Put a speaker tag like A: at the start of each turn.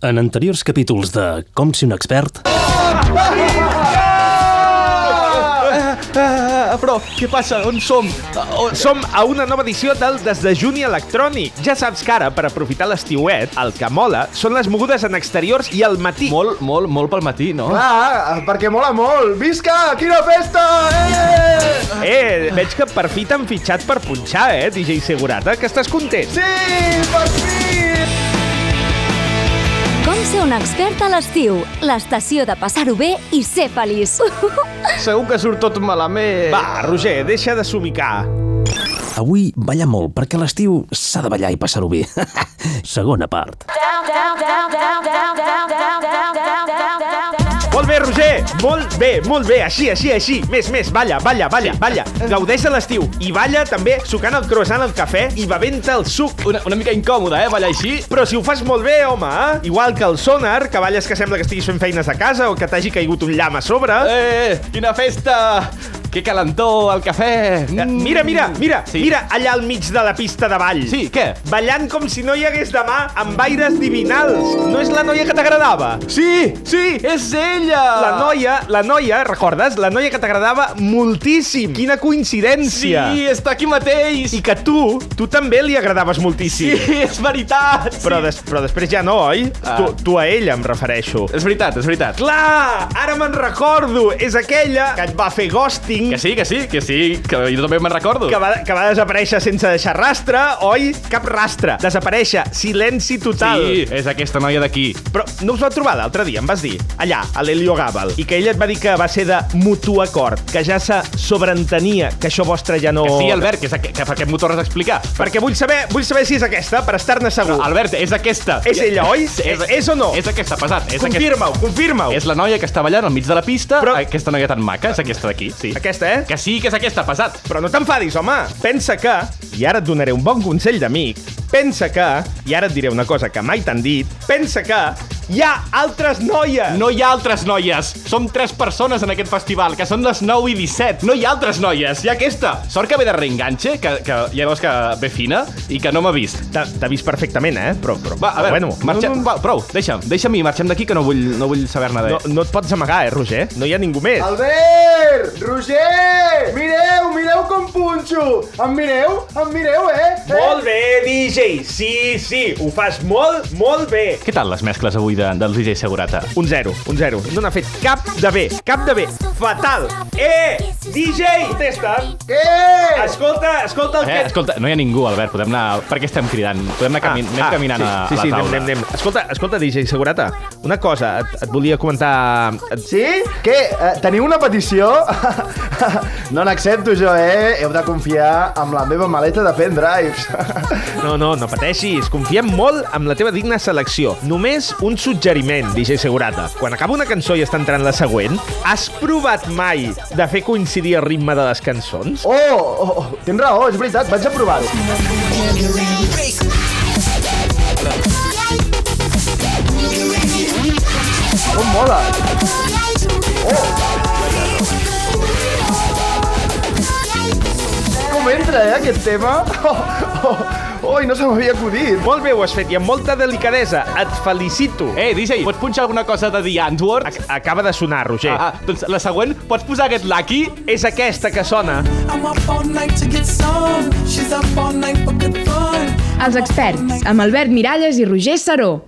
A: En anteriors capítols de Com si un expert...
B: Eh,
C: Ah, però, què passa? On som? Ah, On...
B: Som a una nova edició del Desdejuni Electrònic. Ja saps que ara, per aprofitar l'estiuet, el que mola són les mogudes en exteriors i al matí.
C: Molt, molt, molt pel matí, no?
D: Ah, perquè mola molt! Visca! Quina festa! Eh!
B: Eh, veig que per fi t'han fitxat per punxar, eh, DJ Segurata, que estàs content.
D: Sí, per fi!
E: Com ser un expert a l'estiu. L'estació de passar-ho bé i ser feliç.
D: Segur que surt tot malament.
B: Va, Roger, deixa de somicar.
A: Avui balla molt, perquè a l'estiu s'ha de ballar i passar-ho bé. Segona part.
B: Molt bé, Roger! Molt bé, molt bé, així, així, així. Més, més, balla, balla, balla, balla.
C: Eh.
B: Gaudeix de l'estiu i balla també sucant el croissant al cafè i bevent-te el suc.
C: Una, una mica incòmode, eh, ballar així.
B: Però si ho fas molt bé, home, eh? Igual que el sonar, que balles que sembla que estiguis fent feines a casa o que t'hagi caigut un llam a sobre.
C: Eh, quina festa! Que calentó, el cafè...
B: Eh,
C: Mm.
B: Mira, mira, mira,
C: Sí.
B: sí. mira allà al mig de la pista de ball.
C: Sí, què?
B: Ballant com si no hi hagués demà amb aires divinals. No és la noia que t'agradava?
C: Sí, sí, és ella!
B: La noia, la noia, recordes? La noia que t'agradava moltíssim. Quina
C: Sí,
B: coincidència.
C: està aquí mateix!
B: I que tu, tu també li agradaves moltíssim.
C: Sí, és veritat!
B: Però, des, però després ja no, oi?
C: Ah.
B: Tu, tu a ella em refereixo.
C: És veritat, és veritat.
B: Clar, ara me'n recordo. És aquella que et va fer ghosting.
C: Que sí, que sí, que sí, que jo també me'n recordo.
B: que va, que va desaparèixer sense deixar rastre, oi? Cap rastre. Desaparèixer. Silenci total.
C: Sí, és aquesta noia d'aquí.
B: Però no us vau trobar l'altre dia, em vas dir, allà, a l'Helio Gabal, i que ella et va dir que va ser de mutu acord, que ja se sobreentenia que això vostre ja no...
C: Que sí, Albert, que, és aqu que per aquest motor has d'explicar.
B: Perquè vull saber, vull saber si és aquesta, per estar-ne segur.
C: Albert, és aquesta.
B: És ella, oi? És- és o no?
C: És aquesta, pesat. És aquesta.
B: Confirma-ho, confirma-ho.
C: És la noia que està ballant al mig de la pista.
B: Però-
C: Però... Aquesta noia tan maca, és aquesta d'aquí, sí.
B: Aquesta, eh?
C: Que sí, que és aquesta, pesat.
B: Però no t'enfadis, home. Pensa que, i ara et donaré un bon consell d'amic, pensa que, i ara et diré una cosa que mai t'han dit, pensa que hi ha altres noies.
C: No hi ha altres noies. Som tres persones en aquest festival, que són les 9 i 17. No hi ha altres noies. Hi ha aquesta. Sort que ve de reenganxe, que, que ja veus que ve fina i que no m'ha vist.
B: T'ha t'ha vist perfectament, eh? Però, però,
C: Va, a veure,
B: bueno,
C: marxa... va, prou, deixa'm, deixa'm i marxem d'aquí que no vull, no vull saber-ne de...
B: No, no et pots amagar, eh, Roger? No hi ha ningú més.
D: Albert! Roger! Mireu, mireu com punxo! Em mireu? Em mireu, eh? eh?
B: Molt bé, DJ. Sí, sí, ho fas molt, molt bé.
C: Què tal les mescles avui de, del DJ Segurata?
B: Un zero, un zero. No n'ha fet cap de bé, cap de bé. Fatal. Eh, DJ, contesta.
D: Què?
B: Escolta, escolta el
C: Eh,
B: que...
C: escolta, no hi ha ningú, Albert, podem anar... Per què estem cridant? Podem anar Ah, camin... anem caminant
B: Ah, sí, sí,
C: a, a la
B: sí,
C: taula.
B: Anem, anem, anem. Escolta, escolta, DJ Segurata, una cosa, et, et volia comentar... Et...
D: Sí? Què? Eh, teniu una petició? no n'accepto jo, eh? Heu de confiar amb la meva maleta de pendrives.
B: No, no, no pateixis. Confiem molt amb la teva digna selecció. Només un suggeriment, DJ Segurata. Quan acaba una cançó i està entrant la següent, has provat mai de fer coincidir el ritme de les cançons?
D: oh, oh, oh, tens raó, és veritat, vaig a provar-ho. Com mola! Com entra, eh, aquest tema? Oh, oh, oh, no se m'havia acudit.
B: Molt bé ho has fet i amb molta delicadesa. Et felicito. Eh,
C: Eh, DJ, pots punxar alguna cosa de The Antwoord?
B: ac- acaba de sonar, Roger.
C: Ah, doncs la següent, pots posar aquest Lucky?
B: És aquesta que sona.
F: I'm up all night to get some. She's up all night for good fun.
G: Els experts, amb Albert Miralles i Roger Saró.